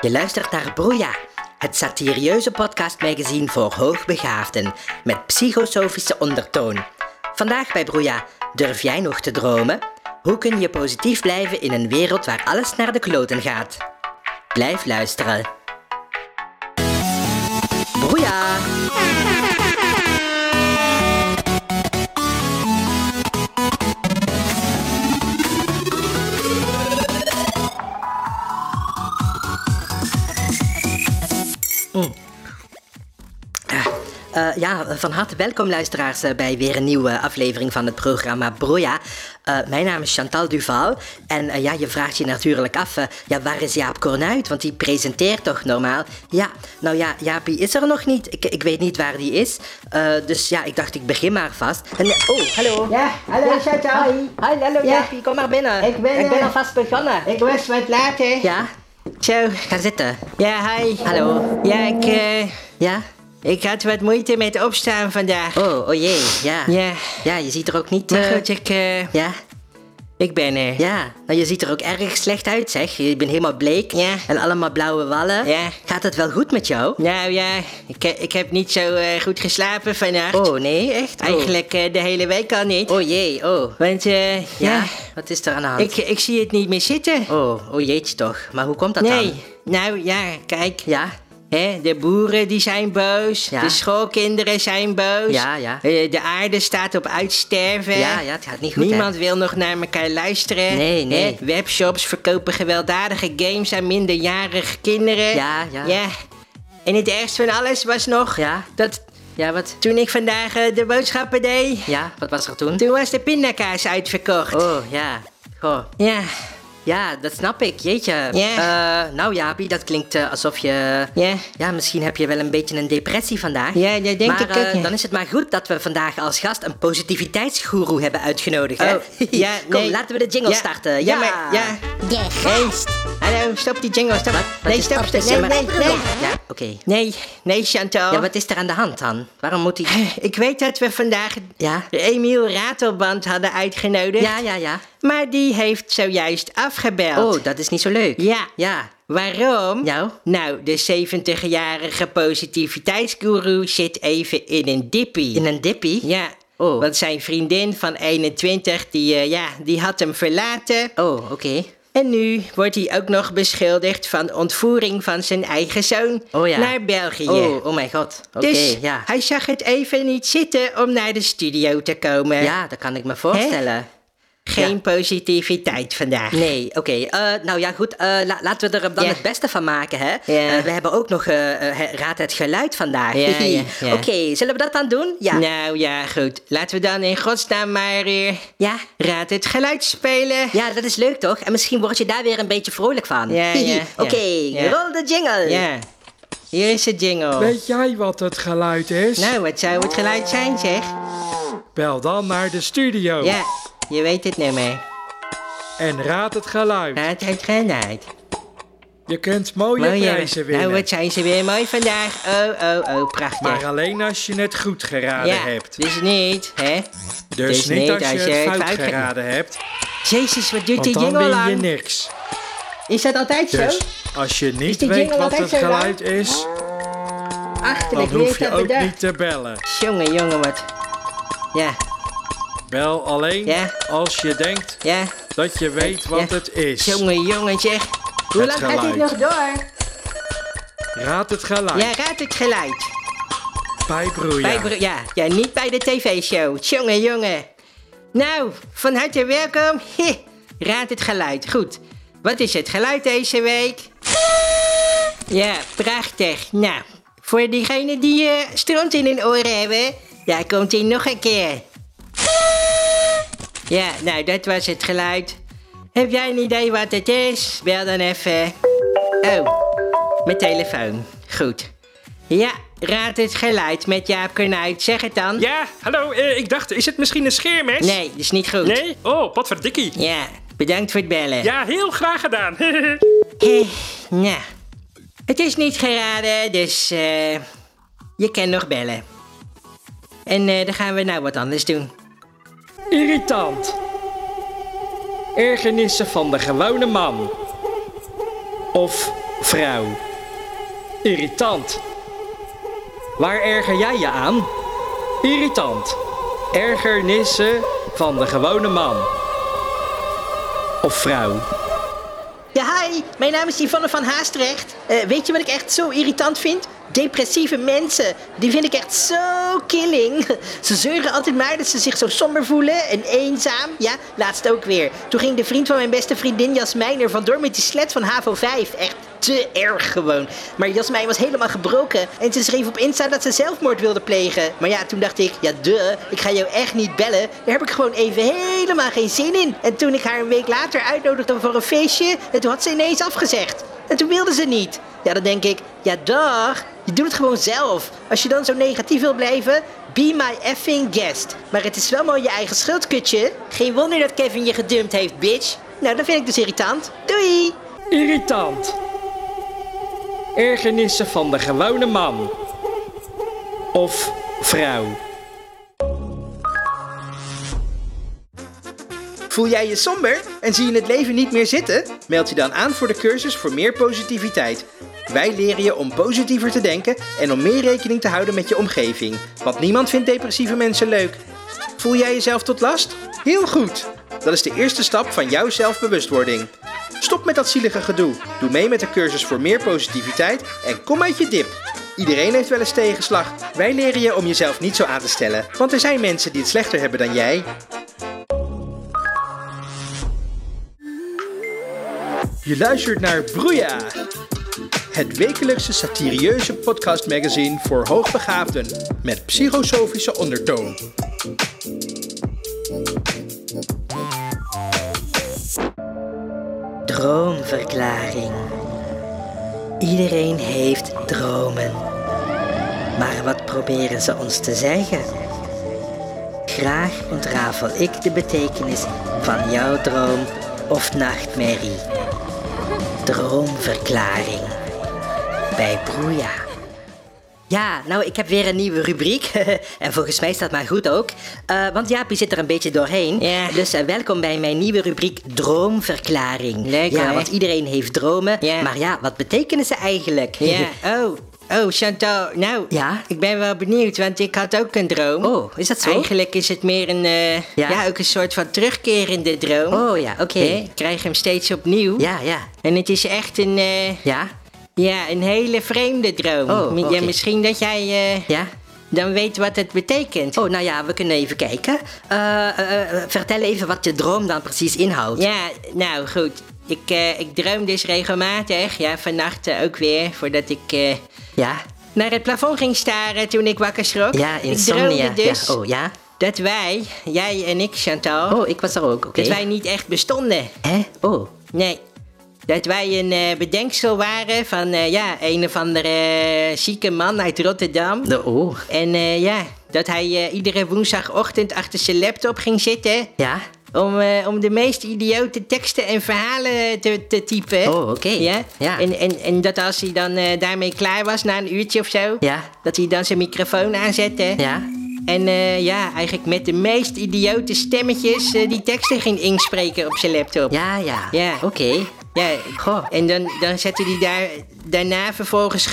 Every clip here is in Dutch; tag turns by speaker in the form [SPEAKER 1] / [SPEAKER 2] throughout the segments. [SPEAKER 1] Je luistert naar Broeia, het satirieuze podcastmagazine voor hoogbegaafden met psychosofische ondertoon. Vandaag bij Broeia, durf jij nog te dromen? Hoe kun je positief blijven in een wereld waar alles naar de kloten gaat? Blijf luisteren. Broeia! Eh, ja, van harte welkom luisteraars eh, bij weer een nieuwe aflevering van het programma Broja. Eh, mijn naam is Chantal Duval en eh, ja, je vraagt je natuurlijk af, eh, ja, waar is Jaap Kornuit? Want die presenteert toch normaal? Ja, nou ja, Jaapie is er nog niet. Ik, ik weet niet waar die is. Eh, dus ja, ik dacht ik begin maar vast. En, eh, oh, hallo.
[SPEAKER 2] Ja, Ah. hallo
[SPEAKER 1] Ja,
[SPEAKER 2] Chantal.
[SPEAKER 1] Hi, Hi, hallo
[SPEAKER 2] Ja.
[SPEAKER 1] Jaapie, kom maar binnen.
[SPEAKER 2] Ik ben,
[SPEAKER 1] ik ben
[SPEAKER 2] eh,
[SPEAKER 1] alvast begonnen.
[SPEAKER 2] Ik was wat later.
[SPEAKER 1] Ja?
[SPEAKER 2] Zo.
[SPEAKER 1] Ga zitten.
[SPEAKER 2] Ja, hi.
[SPEAKER 1] Hallo.
[SPEAKER 2] Ja, ik, eh,
[SPEAKER 1] Ja?
[SPEAKER 2] ik had wat moeite met opstaan vandaag.
[SPEAKER 1] Oh, oh jee, ja.
[SPEAKER 2] Ja.
[SPEAKER 1] Ja, je ziet er ook niet...
[SPEAKER 2] Maar
[SPEAKER 1] eh,
[SPEAKER 2] goed, ik, eh,
[SPEAKER 1] Ja?
[SPEAKER 2] ik ben er.
[SPEAKER 1] Ja, nou je ziet er ook erg slecht uit, zeg. Je bent helemaal bleek
[SPEAKER 2] Ja.
[SPEAKER 1] en allemaal blauwe wallen.
[SPEAKER 2] Ja.
[SPEAKER 1] Gaat het wel goed met jou?
[SPEAKER 2] Nou ja, ik, he- ik heb niet zo eh, goed geslapen vannacht.
[SPEAKER 1] Oh nee, echt? Oh.
[SPEAKER 2] Eigenlijk eh, de hele week al niet.
[SPEAKER 1] Oh jee, oh.
[SPEAKER 2] Want, eh,
[SPEAKER 1] Ja?
[SPEAKER 2] ja,
[SPEAKER 1] Wat is er aan de hand?
[SPEAKER 2] ik, ik zie het niet meer zitten.
[SPEAKER 1] Oh, oh jeetje toch. Maar hoe komt dat
[SPEAKER 2] nee.
[SPEAKER 1] dan?
[SPEAKER 2] Nou ja, kijk.
[SPEAKER 1] Ja?
[SPEAKER 2] Hè, de boeren die zijn boos,
[SPEAKER 1] Ja.
[SPEAKER 2] de schoolkinderen zijn boos,
[SPEAKER 1] Ja, ja.
[SPEAKER 2] eh, de aarde staat op uitsterven.
[SPEAKER 1] Ja, ja, het gaat niet goed, hè?
[SPEAKER 2] Niemand wil nog naar elkaar luisteren.
[SPEAKER 1] Nee, nee.
[SPEAKER 2] Hè, webshops verkopen gewelddadige games aan minderjarige kinderen.
[SPEAKER 1] Ja, ja.
[SPEAKER 2] ja. En het ergste van alles was nog
[SPEAKER 1] Ja?
[SPEAKER 2] dat
[SPEAKER 1] Ja, wat?
[SPEAKER 2] toen ik vandaag eh, de boodschappen deed,
[SPEAKER 1] Ja, wat was er toen?
[SPEAKER 2] toen was de pindakaas uitverkocht.
[SPEAKER 1] Oh, ja. Goh.
[SPEAKER 2] Ja,
[SPEAKER 1] Ja, dat snap ik, jeetje.
[SPEAKER 2] Ja.
[SPEAKER 1] Eh, nou Jaapie, dat klinkt eh, alsof je...
[SPEAKER 2] ja.
[SPEAKER 1] Ja, misschien heb je wel een beetje een depressie vandaag.
[SPEAKER 2] Ja, dat denk
[SPEAKER 1] maar,
[SPEAKER 2] ik ook,
[SPEAKER 1] eh,
[SPEAKER 2] ja.
[SPEAKER 1] dan is het maar goed dat we vandaag als gast een positiviteitsgoeroe hebben uitgenodigd. hè?
[SPEAKER 2] Oh, ja,
[SPEAKER 1] Kom,
[SPEAKER 2] nee.
[SPEAKER 1] laten we de jingle
[SPEAKER 2] Ja,
[SPEAKER 1] starten. Ja,
[SPEAKER 2] Ja, maar, ja.
[SPEAKER 3] De gast.
[SPEAKER 2] Hallo, stop die jingle, stop.
[SPEAKER 1] Wat? Wat
[SPEAKER 2] nee,
[SPEAKER 1] is-
[SPEAKER 2] stop,
[SPEAKER 1] wat
[SPEAKER 2] stop.
[SPEAKER 1] is
[SPEAKER 2] Nee,
[SPEAKER 1] er-
[SPEAKER 2] nee, nee.
[SPEAKER 1] Ja, oké.
[SPEAKER 2] Nee, nee, Chantal.
[SPEAKER 1] Ja, wat is er aan de hand dan? Waarom moet hij...
[SPEAKER 2] Ik weet dat we vandaag
[SPEAKER 1] Ja?
[SPEAKER 2] Emiel Ratelband hadden uitgenodigd.
[SPEAKER 1] Ja, ja, ja.
[SPEAKER 2] Maar die heeft zojuist afgebeld.
[SPEAKER 1] Oh, dat is niet zo leuk.
[SPEAKER 2] Ja.
[SPEAKER 1] Ja.
[SPEAKER 2] Waarom?
[SPEAKER 1] Nou?
[SPEAKER 2] Nou, de 70-jarige positiviteitsguru zit even in een dippie.
[SPEAKER 1] In een dippie?
[SPEAKER 2] Ja.
[SPEAKER 1] Oh.
[SPEAKER 2] Want zijn vriendin van 21, die, eh, ja, die had hem verlaten.
[SPEAKER 1] Oh, oké.
[SPEAKER 2] En nu wordt hij ook nog beschuldigd van ontvoering van zijn eigen zoon
[SPEAKER 1] Oh, ja.
[SPEAKER 2] naar België.
[SPEAKER 1] Oh, oh mijn god. Oké,
[SPEAKER 2] dus
[SPEAKER 1] ja.
[SPEAKER 2] hij zag het even niet zitten om naar de studio te komen.
[SPEAKER 1] Ja, dat kan ik me voorstellen.
[SPEAKER 2] Geen positiviteit vandaag.
[SPEAKER 1] Nee, oké. eh, nou ja, goed. eh, la- laten we er dan
[SPEAKER 2] Ja.
[SPEAKER 1] het beste van maken, hè?
[SPEAKER 2] Ja.
[SPEAKER 1] Eh, we hebben ook nog eh, eh, Raad het Geluid vandaag.
[SPEAKER 2] Ja, ja, ja.
[SPEAKER 1] Oké, zullen we dat dan doen? Ja.
[SPEAKER 2] Nou ja, goed. Laten we dan in godsnaam maar weer
[SPEAKER 1] Ja.
[SPEAKER 2] Raad het geluid spelen.
[SPEAKER 1] Ja, dat is leuk toch? En misschien word je daar weer een beetje vrolijk van.
[SPEAKER 2] Ja, ja,
[SPEAKER 1] Oké,
[SPEAKER 2] ja.
[SPEAKER 1] rol de jingle.
[SPEAKER 2] Ja. Hier is de jingle.
[SPEAKER 4] Eh. Weet jij wat het geluid is?
[SPEAKER 2] Oh. Nou, wat zou het geluid zijn, zeg?
[SPEAKER 4] Oh. Bel dan naar de studio
[SPEAKER 2] Ja, je weet het nummer.
[SPEAKER 4] en raad het geluid.
[SPEAKER 2] Raad het geluid.
[SPEAKER 4] Je kunt mooie
[SPEAKER 2] Mooi, hè?
[SPEAKER 4] prijzen winnen,
[SPEAKER 2] Nou, wat zijn ze weer mooi vandaag. Oh, oh, oh, prachtig.
[SPEAKER 4] maar alleen als je het goed geraden
[SPEAKER 2] ja,
[SPEAKER 4] hebt.
[SPEAKER 2] dus niet, hè?
[SPEAKER 4] Dus
[SPEAKER 2] dus
[SPEAKER 4] niet als je het fout, geraden hebt,
[SPEAKER 2] Jezus, wat duurt
[SPEAKER 4] want
[SPEAKER 2] die
[SPEAKER 4] dan
[SPEAKER 2] jingle
[SPEAKER 4] win je
[SPEAKER 2] lang?
[SPEAKER 4] niks.
[SPEAKER 2] Is dat altijd
[SPEAKER 4] Dus
[SPEAKER 2] zo?
[SPEAKER 4] als je niet
[SPEAKER 2] die
[SPEAKER 4] weet
[SPEAKER 2] jingle
[SPEAKER 4] wat
[SPEAKER 2] altijd
[SPEAKER 4] het
[SPEAKER 2] zo lang?
[SPEAKER 4] geluid is, dan
[SPEAKER 2] Achterlijk, wie
[SPEAKER 4] hoef
[SPEAKER 2] heeft
[SPEAKER 4] je
[SPEAKER 2] dat
[SPEAKER 4] ook
[SPEAKER 2] bedacht?
[SPEAKER 4] niet te bellen.
[SPEAKER 2] Jongen, jongen, wat. Ja,
[SPEAKER 4] Bel alleen
[SPEAKER 2] Ja.
[SPEAKER 4] als je denkt
[SPEAKER 2] ja.
[SPEAKER 4] dat je weet wat
[SPEAKER 2] Ja.
[SPEAKER 4] het is.
[SPEAKER 2] Jongen, jongen, zeg. Hoe
[SPEAKER 4] Het
[SPEAKER 2] lang gaat dit
[SPEAKER 4] geluid.
[SPEAKER 2] nog door?
[SPEAKER 4] Raad het geluid
[SPEAKER 2] Ja, raad het geluid.
[SPEAKER 4] bij
[SPEAKER 2] Bij
[SPEAKER 4] Broeia.
[SPEAKER 2] Bro- ja. ja, niet bij de tv-show. Jongen, jongen. Nou, van harte welkom. Heh, raad het geluid. Goed. Wat is het geluid deze week? Ja, prachtig. Nou, voor diegenen die eh, stront in hun oren hebben, daar komt hij nog een keer. Ja, nou, dat was het geluid. Heb jij een idee wat het is? Bel dan even. Oh, mijn telefoon. Goed. Ja, raad het geluid met Jaap Kornuit. Zeg het dan.
[SPEAKER 5] Ja, hallo, eh, ik dacht, is het misschien een scheermes?
[SPEAKER 2] Nee, dat is niet goed.
[SPEAKER 5] Nee? Oh, wat voor dikkie.
[SPEAKER 2] Ja, bedankt voor het bellen.
[SPEAKER 5] Ja, heel graag gedaan.
[SPEAKER 2] Eh, nou, het is niet geraden, dus eh, je kan nog bellen. En eh, dan gaan we nou wat anders doen.
[SPEAKER 5] Irritant. Ergernissen van de gewone man. Of Vrouw. Irritant. Waar erger jij je aan? Irritant. Ergernissen van de gewone man. Of vrouw.
[SPEAKER 2] Ja, hi, mijn naam is Yvonne van Haastrecht. Eh, weet je wat ik echt zo irritant vind? Depressieve mensen. Die vind ik echt zo killing. Ze zeuren altijd maar dat ze zich zo somber voelen en eenzaam. Ja, laatst ook weer. Toen ging de vriend van mijn beste vriendin Jasmijn er vandoor met die slet van HAVO 5. Echt te erg gewoon. Maar Jasmijn was helemaal gebroken en ze schreef op Insta dat ze zelfmoord wilde plegen. Maar ja, toen dacht ik, ja duh, ik ga jou echt niet bellen. Daar heb ik gewoon even helemaal geen zin in. En toen ik haar een week later uitnodigde voor een feestje, en toen had ze ineens afgezegd. En toen wilde ze niet. Ja, dan denk ik, ja dag, je doet het gewoon zelf. Als je dan zo negatief wil blijven, be my effing guest. Maar het is wel mooi je eigen schuld, kutje. Geen wonder dat Kevin je gedumpt heeft, bitch. Nou, dat vind ik dus irritant. Doei!
[SPEAKER 5] Irritant. Ergernissen van de gewone man. Of vrouw.
[SPEAKER 2] Voel jij je somber en zie je het leven niet meer zitten? Meld je dan aan voor de cursus voor meer positiviteit. Wij leren je om positiever te denken en om meer rekening te houden met je omgeving. Want niemand vindt depressieve mensen leuk. Voel jij jezelf tot last? Heel goed! Dat is de eerste stap van jouw zelfbewustwording. Stop met dat zielige gedoe. Doe mee met de cursus voor meer positiviteit en kom uit je dip. Iedereen heeft wel eens tegenslag. Wij leren je om jezelf niet zo aan te stellen, want er zijn mensen die het slechter hebben dan jij.
[SPEAKER 4] Je luistert naar Broeia. Het wekelijkse satirieuze podcastmagazine voor hoogbegaafden. Met psychosofische ondertoon.
[SPEAKER 1] Droomverklaring. Iedereen heeft dromen. Maar wat proberen ze ons te zeggen? Graag ontrafel ik de betekenis van jouw droom of nachtmerrie. Droomverklaring. Bij Broeia. Ja, nou, ik heb weer een nieuwe rubriek. en volgens mij staat maar goed ook. Eh, want Jaapie zit er een beetje doorheen.
[SPEAKER 2] Ja.
[SPEAKER 1] Dus eh, welkom bij mijn nieuwe rubriek Droomverklaring.
[SPEAKER 2] Leuk,
[SPEAKER 1] Ja,
[SPEAKER 2] hè?
[SPEAKER 1] want iedereen heeft dromen.
[SPEAKER 2] Ja.
[SPEAKER 1] Maar ja, wat betekenen ze eigenlijk?
[SPEAKER 2] Ja, oh, oh, Chantal, nou,
[SPEAKER 1] Ja?
[SPEAKER 2] ik ben wel benieuwd, want ik had ook een droom.
[SPEAKER 1] Oh, is dat zo?
[SPEAKER 2] Eigenlijk is het meer een, eh, ja?
[SPEAKER 1] Ja?
[SPEAKER 2] ook een soort van terugkerende droom.
[SPEAKER 1] Oh ja, oké.
[SPEAKER 2] Hè, Ik krijg hem steeds opnieuw.
[SPEAKER 1] Ja, ja.
[SPEAKER 2] En het is echt een, eh,
[SPEAKER 1] Ja?
[SPEAKER 2] ja, een hele vreemde droom.
[SPEAKER 1] Oh,
[SPEAKER 2] Mi- ja,
[SPEAKER 1] oké.
[SPEAKER 2] misschien dat jij eh,
[SPEAKER 1] Ja?
[SPEAKER 2] dan weet wat het betekent.
[SPEAKER 1] Oh, nou ja, we kunnen even kijken. Eh, eh, eh, vertel even wat je droom dan precies inhoudt.
[SPEAKER 2] Ja, nou goed. Ik, eh, ik droom dus regelmatig, ja, vannacht eh, ook weer, voordat ik... eh,
[SPEAKER 1] Ja?
[SPEAKER 2] naar het plafond ging staren toen ik wakker schrok.
[SPEAKER 1] Ja,
[SPEAKER 2] Ik
[SPEAKER 1] insomnia.
[SPEAKER 2] droomde dus
[SPEAKER 1] Ja, oh ja?
[SPEAKER 2] dat wij, jij en ik Chantal,
[SPEAKER 1] Oh, ik was er ook, oké.
[SPEAKER 2] dat Dus wij niet echt bestonden.
[SPEAKER 1] Hè? Oh.
[SPEAKER 2] Nee. Dat wij een eh, bedenksel waren van eh, ja, een of andere eh, zieke man uit Rotterdam.
[SPEAKER 1] De oh.
[SPEAKER 2] En eh, ja, dat hij eh, iedere woensdagochtend achter zijn laptop ging zitten.
[SPEAKER 1] Ja?
[SPEAKER 2] Om, eh, om de meest idiote teksten en verhalen te, te typen.
[SPEAKER 1] Oh, oké.
[SPEAKER 2] Ja?
[SPEAKER 1] Ja.
[SPEAKER 2] En, en, en dat als hij dan eh, daarmee klaar was, na een uurtje of zo,
[SPEAKER 1] Ja?
[SPEAKER 2] dat hij dan zijn microfoon aanzette.
[SPEAKER 1] Ja?
[SPEAKER 2] En eh, ja, eigenlijk met de meest idiote stemmetjes eh, die teksten ging inspreken op zijn laptop.
[SPEAKER 1] Ja, ja.
[SPEAKER 2] Ja.
[SPEAKER 1] Oké.
[SPEAKER 2] Ja,
[SPEAKER 1] Goh.
[SPEAKER 2] en dan, dan zette hij daar, daarna vervolgens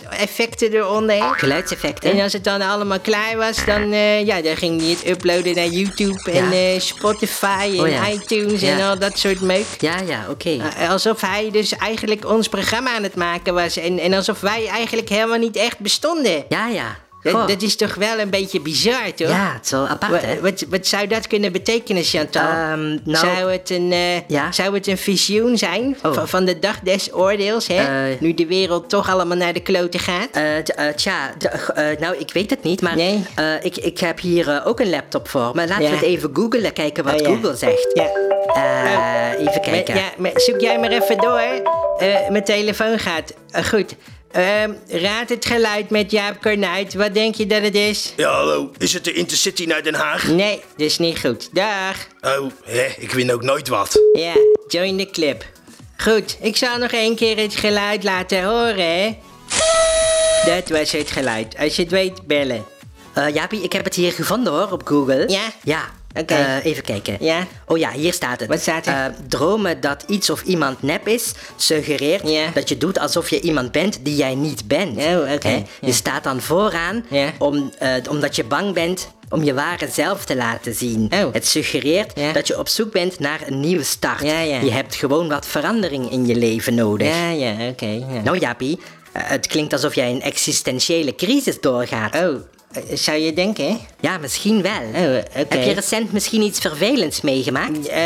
[SPEAKER 2] geluidseffecten eronder.
[SPEAKER 1] Geluidseffecten.
[SPEAKER 2] En als het dan allemaal klaar was, dan, eh, ja, dan ging hij het uploaden naar YouTube en
[SPEAKER 1] Ja.
[SPEAKER 2] eh, Spotify en
[SPEAKER 1] Oh ja.
[SPEAKER 2] iTunes en
[SPEAKER 1] Ja.
[SPEAKER 2] al dat soort meuk.
[SPEAKER 1] Ja, ja, oké.
[SPEAKER 2] Eh, Alsof hij dus eigenlijk ons programma aan het maken was. En, en alsof wij eigenlijk helemaal niet echt bestonden.
[SPEAKER 1] Ja, ja. Goh.
[SPEAKER 2] Dat, dat is toch wel een beetje bizar, toch?
[SPEAKER 1] Ja, het is wel apart,
[SPEAKER 2] Wa-
[SPEAKER 1] hè?
[SPEAKER 2] Wat, wat zou dat kunnen betekenen, Chantal?
[SPEAKER 1] Ehm, nou-
[SPEAKER 2] zou, het een, eh,
[SPEAKER 1] Ja?
[SPEAKER 2] zou het een visioen zijn
[SPEAKER 1] Oh.
[SPEAKER 2] van, van de dag des oordeels, hè?
[SPEAKER 1] Eh.
[SPEAKER 2] nu de wereld toch allemaal naar de kloten gaat?
[SPEAKER 1] Eh, d- eh, tja, d- eh, nou, ik weet het niet, maar
[SPEAKER 2] Nee.
[SPEAKER 1] eh, ik, ik heb hier eh, ook een laptop voor. Maar laten
[SPEAKER 2] Ja.
[SPEAKER 1] we het even googlen, kijken wat
[SPEAKER 2] Oh, ja.
[SPEAKER 1] Google zegt.
[SPEAKER 2] Ja.
[SPEAKER 1] Eh, even
[SPEAKER 2] Maar-
[SPEAKER 1] kijken.
[SPEAKER 2] ja, maar zoek jij maar even door. Eh, mijn telefoon gaat. Eh, goed. Ehm, raad het geluid met Jaap Kornuit. Wat denk je dat het is?
[SPEAKER 3] Ja, hallo. Is het de Intercity naar Den Haag?
[SPEAKER 2] Nee, dat is niet goed. Dag.
[SPEAKER 3] Oh, hè, ik win ook nooit wat.
[SPEAKER 2] Ja, join the clip. Goed, ik zal nog één keer het geluid laten horen, hè? Dat was het geluid. Als je het weet, bellen.
[SPEAKER 1] Eh, Jaapie, ik heb het hier gevonden hoor, op Google.
[SPEAKER 2] Ja?
[SPEAKER 1] Ja.
[SPEAKER 2] Oké.
[SPEAKER 1] Eh, even kijken.
[SPEAKER 2] Ja?
[SPEAKER 1] Oh ja, hier staat het.
[SPEAKER 2] Wat staat er?
[SPEAKER 1] Eh, dromen dat iets of iemand nep is, suggereert
[SPEAKER 2] Ja.
[SPEAKER 1] dat je doet alsof je iemand bent die jij niet bent.
[SPEAKER 2] Oh, oké,
[SPEAKER 1] Hè?
[SPEAKER 2] ja.
[SPEAKER 1] Je staat dan vooraan
[SPEAKER 2] Ja.
[SPEAKER 1] om, eh, omdat je bang bent om je ware zelf te laten zien.
[SPEAKER 2] Oh.
[SPEAKER 1] Het suggereert
[SPEAKER 2] Ja.
[SPEAKER 1] dat je op zoek bent naar een nieuwe start.
[SPEAKER 2] Ja, ja.
[SPEAKER 1] Je hebt gewoon wat verandering in je leven nodig.
[SPEAKER 2] Ja, ja, oké. ja.
[SPEAKER 1] Nou Jaapie, eh, het klinkt alsof jij een existentiële crisis doorgaat.
[SPEAKER 2] Oh, eh, zou je denken? hè?
[SPEAKER 1] Ja, misschien wel.
[SPEAKER 2] Oh, oké.
[SPEAKER 1] Heb je recent misschien iets vervelends meegemaakt?
[SPEAKER 2] Eh,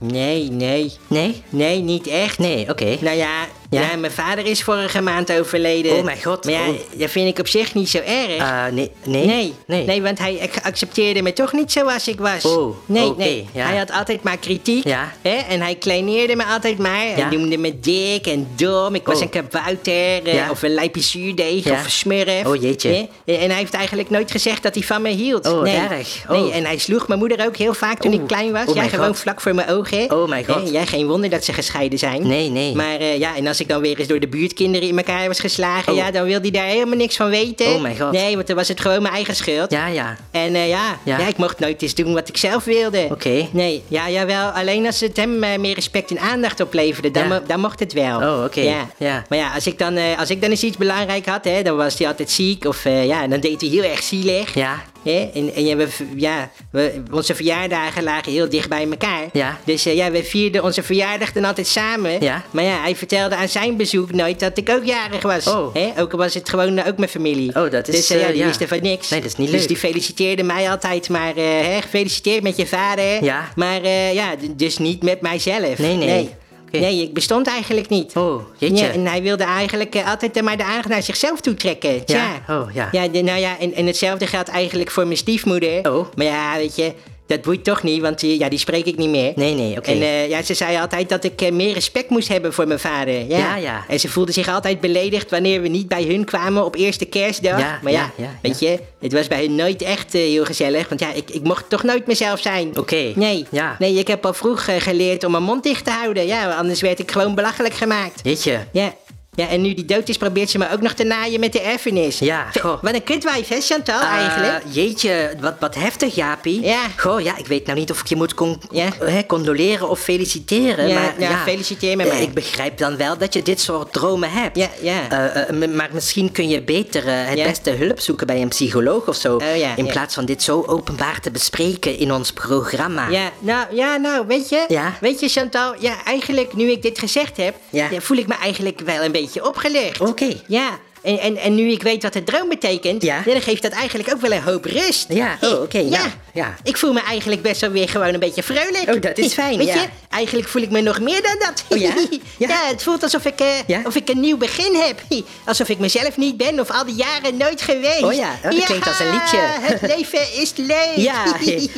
[SPEAKER 2] nee, nee.
[SPEAKER 1] Nee?
[SPEAKER 2] Nee, niet echt.
[SPEAKER 1] Nee, oké.
[SPEAKER 2] Nou ja,
[SPEAKER 1] Ja?
[SPEAKER 2] ja? mijn vader is vorige maand overleden.
[SPEAKER 1] Oh, mijn god.
[SPEAKER 2] Maar ja,
[SPEAKER 1] Oh.
[SPEAKER 2] dat vind ik op zich niet zo erg.
[SPEAKER 1] Eh, nee, nee.
[SPEAKER 2] Nee,
[SPEAKER 1] Nee.
[SPEAKER 2] nee. want hij ac- accepteerde me toch niet zoals ik was.
[SPEAKER 1] Oh,
[SPEAKER 2] nee,
[SPEAKER 1] oké,
[SPEAKER 2] nee.
[SPEAKER 1] ja.
[SPEAKER 2] Hij had altijd maar kritiek.
[SPEAKER 1] Ja.
[SPEAKER 2] Hè? En hij kleineerde me altijd maar.
[SPEAKER 1] Ja.
[SPEAKER 2] Hij noemde me dik en dom. Ik was
[SPEAKER 1] Oh.
[SPEAKER 2] een kabouter. eh,
[SPEAKER 1] Ja.
[SPEAKER 2] Of een lijpje zuurdeeg.
[SPEAKER 1] Ja.
[SPEAKER 2] Of een smurf.
[SPEAKER 1] Oh, jeetje.
[SPEAKER 2] Hè? En hij heeft eigenlijk nooit gezegd dat hij van me hield.
[SPEAKER 1] Oh,
[SPEAKER 2] nee.
[SPEAKER 1] erg.
[SPEAKER 2] Nee,
[SPEAKER 1] Oh.
[SPEAKER 2] en hij sloeg mijn moeder ook heel vaak toen
[SPEAKER 1] Oeh.
[SPEAKER 2] ik klein was.
[SPEAKER 1] Oh,
[SPEAKER 2] ja,
[SPEAKER 1] mijn
[SPEAKER 2] gewoon
[SPEAKER 1] God.
[SPEAKER 2] vlak voor mijn ogen.
[SPEAKER 1] Oh, mijn God.
[SPEAKER 2] Hè? Ja, geen wonder dat ze gescheiden zijn.
[SPEAKER 1] Nee, nee.
[SPEAKER 2] Maar eh, ja, en als ik dan weer eens door de buurtkinderen in elkaar was geslagen...
[SPEAKER 1] Oh.
[SPEAKER 2] Ja, dan wilde hij daar helemaal niks van weten.
[SPEAKER 1] Oh, mijn God.
[SPEAKER 2] Nee, want dan was het gewoon mijn eigen schuld.
[SPEAKER 1] Ja, ja.
[SPEAKER 2] En eh, ja,
[SPEAKER 1] Ja.
[SPEAKER 2] ja. ik mocht nooit eens doen wat ik zelf wilde.
[SPEAKER 1] Oké.
[SPEAKER 2] Nee, ja, jawel. Alleen als het hem eh, meer respect en aandacht opleverde, dan,
[SPEAKER 1] Ja.
[SPEAKER 2] mo- dan mocht het wel.
[SPEAKER 1] Oh, oké.
[SPEAKER 2] Ja.
[SPEAKER 1] Ja.
[SPEAKER 2] Maar ja, als ik, dan, eh, als ik dan eens iets belangrijk had, hè, dan was hij altijd ziek. Of eh, ja, dan deed hij heel erg zielig.
[SPEAKER 1] Ja.
[SPEAKER 2] Hè? En, en ja, we, v- ja we, onze verjaardagen lagen heel dicht bij elkaar.
[SPEAKER 1] Ja.
[SPEAKER 2] Dus eh, ja, we vierden onze verjaardag dan altijd samen.
[SPEAKER 1] Ja.
[SPEAKER 2] Maar ja, hij vertelde aan zijn bezoek nooit dat ik ook jarig was.
[SPEAKER 1] Oh.
[SPEAKER 2] Hè? Ook al was het gewoon eh, ook mijn familie.
[SPEAKER 1] Oh, dat is,
[SPEAKER 2] Dus eh, ja,
[SPEAKER 1] eh,
[SPEAKER 2] die
[SPEAKER 1] ja.
[SPEAKER 2] wisten van niks.
[SPEAKER 1] Nee, dat is niet
[SPEAKER 2] dus
[SPEAKER 1] leuk.
[SPEAKER 2] die feliciteerde mij altijd maar, eh, hè, gefeliciteerd met je vader.
[SPEAKER 1] Ja.
[SPEAKER 2] Maar eh, ja, d- dus niet met mijzelf.
[SPEAKER 1] Nee, nee.
[SPEAKER 2] Nee.
[SPEAKER 1] Oké.
[SPEAKER 2] Nee, ik bestond eigenlijk niet.
[SPEAKER 1] Oh, jeetje.
[SPEAKER 2] Ja, en hij wilde eigenlijk eh, altijd eh, maar de aandacht naar zichzelf toe trekken. Tja.
[SPEAKER 1] oh, ja.
[SPEAKER 2] de- nou ja, en, en hetzelfde geldt eigenlijk voor mijn stiefmoeder.
[SPEAKER 1] Oh.
[SPEAKER 2] Maar ja, weet je, dat boeit toch niet, want die, ja, die spreek ik niet meer.
[SPEAKER 1] Nee, nee, oké.
[SPEAKER 2] En eh, ja, ze zei altijd dat ik eh, meer respect moest hebben voor mijn vader. Ja.
[SPEAKER 1] Ja, ja.
[SPEAKER 2] En ze voelde zich altijd beledigd wanneer we niet bij hun kwamen op eerste kerstdag.
[SPEAKER 1] Ja,
[SPEAKER 2] maar ja,
[SPEAKER 1] ja, ja,
[SPEAKER 2] weet je, het was bij hun nooit echt eh, heel gezellig. Want ja, ik, ik mocht toch nooit mezelf zijn.
[SPEAKER 1] Oké,
[SPEAKER 2] Nee.
[SPEAKER 1] ja.
[SPEAKER 2] nee, ik heb al vroeg eh, geleerd om mijn mond dicht te houden. Ja, anders werd ik gewoon belachelijk gemaakt.
[SPEAKER 1] Jeetje.
[SPEAKER 2] Ja. Ja, en nu die dood is, probeert ze me ook nog te naaien met de erfenis.
[SPEAKER 1] Ja,
[SPEAKER 2] Ve-
[SPEAKER 1] goh.
[SPEAKER 2] Wat een kutwijf, hè, Chantal, Oh, eigenlijk?
[SPEAKER 1] Eh, jeetje, wat, wat heftig, Jaapie.
[SPEAKER 2] Ja.
[SPEAKER 1] Goh, ja, ik weet nou niet of ik je moet con-
[SPEAKER 2] Ja.
[SPEAKER 1] hè, condoleren of feliciteren.
[SPEAKER 2] Ja,
[SPEAKER 1] maar,
[SPEAKER 2] ja, feliciteer me
[SPEAKER 1] eh,
[SPEAKER 2] maar.
[SPEAKER 1] Ik begrijp dan wel dat je dit soort dromen hebt.
[SPEAKER 2] Ja, ja.
[SPEAKER 1] Eh, eh, m- maar misschien kun je beter eh, het
[SPEAKER 2] Ja.
[SPEAKER 1] beste hulp zoeken bij een psycholoog of zo.
[SPEAKER 2] Oh, ja,
[SPEAKER 1] in
[SPEAKER 2] ja.
[SPEAKER 1] plaats van dit zo openbaar te bespreken in ons programma.
[SPEAKER 2] Ja, nou, ja, nou, weet je?
[SPEAKER 1] Ja.
[SPEAKER 2] Weet je, Chantal, ja, eigenlijk nu ik dit gezegd heb,
[SPEAKER 1] Ja.
[SPEAKER 2] ja, voel ik me eigenlijk wel een beetje opgelegd.
[SPEAKER 1] Oké.
[SPEAKER 2] Ja, en, en, en nu ik weet wat de droom betekent,
[SPEAKER 1] Ja.
[SPEAKER 2] dan geeft dat eigenlijk ook wel een hoop rust.
[SPEAKER 1] Ja, oh, oké,
[SPEAKER 2] ja.
[SPEAKER 1] nou, ja.
[SPEAKER 2] Ik voel me eigenlijk best wel weer gewoon een beetje vrolijk.
[SPEAKER 1] Oh, dat is fijn,
[SPEAKER 2] Weet
[SPEAKER 1] ja.
[SPEAKER 2] je, eigenlijk voel ik me nog meer dan dat.
[SPEAKER 1] Oh, ja? Ja.
[SPEAKER 2] ja. het voelt alsof ik, eh,
[SPEAKER 1] Ja.
[SPEAKER 2] of ik een nieuw begin heb. Alsof ik mezelf niet ben of al die jaren nooit geweest.
[SPEAKER 1] Oh ja, oh, dat klinkt als een liedje.
[SPEAKER 2] Het leven is leuk.
[SPEAKER 1] Ja,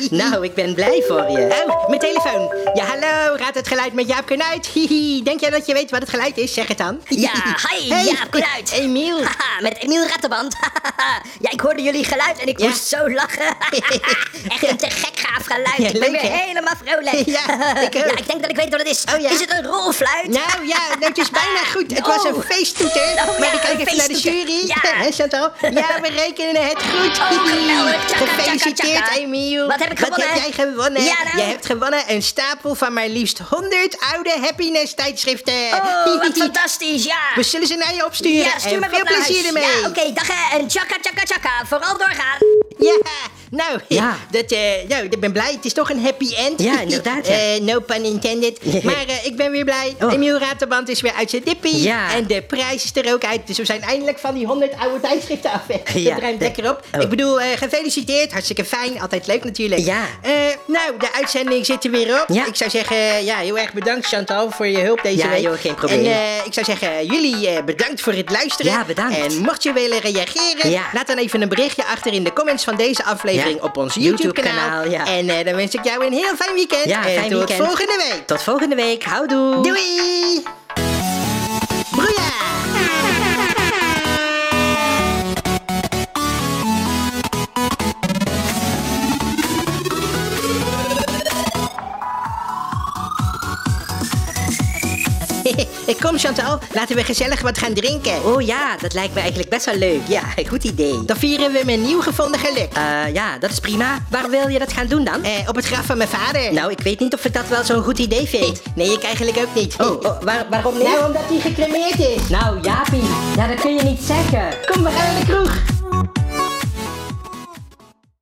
[SPEAKER 1] nou, ik ben blij voor je.
[SPEAKER 2] Oh, mijn telefoon. Ja, hallo, raad het geluid met Jaap Kunuit. Hihi, denk jij dat je weet wat het geluid is? Zeg het dan.
[SPEAKER 6] Ja, hi,
[SPEAKER 2] Hey,
[SPEAKER 6] Jaap Kruid.
[SPEAKER 2] Emiel.
[SPEAKER 6] Haha, met Emiel Rattenband. ja, ik hoorde jullie geluid en ik
[SPEAKER 2] Ja.
[SPEAKER 6] moest zo lachen. Echt een te gek gaaf geluid.
[SPEAKER 2] Ja,
[SPEAKER 6] ik ben
[SPEAKER 2] leuk,
[SPEAKER 6] weer
[SPEAKER 2] hè?
[SPEAKER 6] helemaal vrolijk.
[SPEAKER 2] Ja, ik ook.
[SPEAKER 6] denk dat ik weet wat het is.
[SPEAKER 2] Oh, ja?
[SPEAKER 6] Is het een rolfluit?
[SPEAKER 2] Nou ja, nou, het is bijna goed. Het was een
[SPEAKER 6] Oh.
[SPEAKER 2] feesttoeter.
[SPEAKER 6] Oh,
[SPEAKER 2] maar
[SPEAKER 6] ja,
[SPEAKER 2] ik kijk
[SPEAKER 6] een
[SPEAKER 2] even naar de
[SPEAKER 6] feesttoeter.
[SPEAKER 2] jury.
[SPEAKER 6] Ja.
[SPEAKER 2] Hè, Chantal? Ja, we rekenen het goed.
[SPEAKER 6] Oh, geweldig. Tjaka, tjaka,
[SPEAKER 2] Gefeliciteerd,
[SPEAKER 6] tjaka.
[SPEAKER 2] Emiel.
[SPEAKER 6] Wat heb ik gewonnen?
[SPEAKER 2] Wat heb jij gewonnen?
[SPEAKER 6] Ja, nou.
[SPEAKER 2] Jij hebt gewonnen een stapel van maar liefst 100 oude happiness tijdschriften.
[SPEAKER 6] Oh, wat fantastisch, ja.
[SPEAKER 2] We zullen ze naar je opsturen.
[SPEAKER 6] Ja, stuur
[SPEAKER 2] en
[SPEAKER 6] maar
[SPEAKER 2] veel
[SPEAKER 6] op naar
[SPEAKER 2] plezier
[SPEAKER 6] huis.
[SPEAKER 2] ermee.
[SPEAKER 6] Ja, oké, dag hè. En tjaka, tjaka, tjaka. Vooral doorgaan.
[SPEAKER 2] Ja, nou,
[SPEAKER 1] Ja.
[SPEAKER 2] Dat, eh, nou, ik ben blij. Het is toch een happy end.
[SPEAKER 1] Ja, inderdaad, ja.
[SPEAKER 2] Eh, no pun intended. maar eh, ik ben weer blij.
[SPEAKER 1] Oh.
[SPEAKER 2] Emiel Raterband is weer uit zijn dippie.
[SPEAKER 1] Ja.
[SPEAKER 2] En de prijs is er ook uit. Dus we zijn eindelijk van die 100 oude tijdschriften af. Dat
[SPEAKER 1] Ja.
[SPEAKER 2] ruimt lekker op.
[SPEAKER 1] Oh.
[SPEAKER 2] Ik bedoel, eh, gefeliciteerd. Hartstikke fijn. Altijd leuk natuurlijk.
[SPEAKER 1] Ja.
[SPEAKER 2] Eh, nou, de uitzending zit er weer op.
[SPEAKER 1] Ja.
[SPEAKER 2] Ik zou zeggen, eh, ja, heel erg bedankt Chantal voor je hulp deze
[SPEAKER 1] Ja,
[SPEAKER 2] week.
[SPEAKER 1] joh, geen probleem.
[SPEAKER 2] En eh, ik zou zeggen, jullie eh, bedankt voor het luisteren.
[SPEAKER 1] Ja, bedankt.
[SPEAKER 2] En mocht je willen reageren,
[SPEAKER 1] Ja.
[SPEAKER 2] laat dan even een berichtje achter in de comments van deze aflevering
[SPEAKER 1] Ja.
[SPEAKER 2] op ons YouTube-kanaal.
[SPEAKER 1] YouTube-kanaal, ja.
[SPEAKER 2] En eh, dan wens ik jou een heel fijn weekend.
[SPEAKER 1] Ja,
[SPEAKER 2] en
[SPEAKER 1] fijn
[SPEAKER 2] eh, tot
[SPEAKER 1] weekend.
[SPEAKER 2] volgende week.
[SPEAKER 1] Tot volgende week. Houdoe.
[SPEAKER 2] Doei! Broeia! Eh, Kom Chantal, laten we gezellig wat gaan drinken.
[SPEAKER 1] Oh ja, dat lijkt me eigenlijk best wel leuk. Ja, goed idee.
[SPEAKER 2] Dan vieren we mijn nieuw gevonden geluk.
[SPEAKER 1] Eh, ja, dat is prima. Waar wil je dat gaan doen dan?
[SPEAKER 2] Eh, op het graf van mijn vader.
[SPEAKER 1] Nou, ik weet niet of ik dat wel zo'n goed idee vind.
[SPEAKER 2] Nee, ik eigenlijk ook niet.
[SPEAKER 1] Oh, oh, waar- waarom niet?
[SPEAKER 2] Nou, omdat hij gecremeerd is.
[SPEAKER 1] Nou, Jaapie, ja, dat kun je niet zeggen.
[SPEAKER 2] Kom, we gaan naar de kroeg.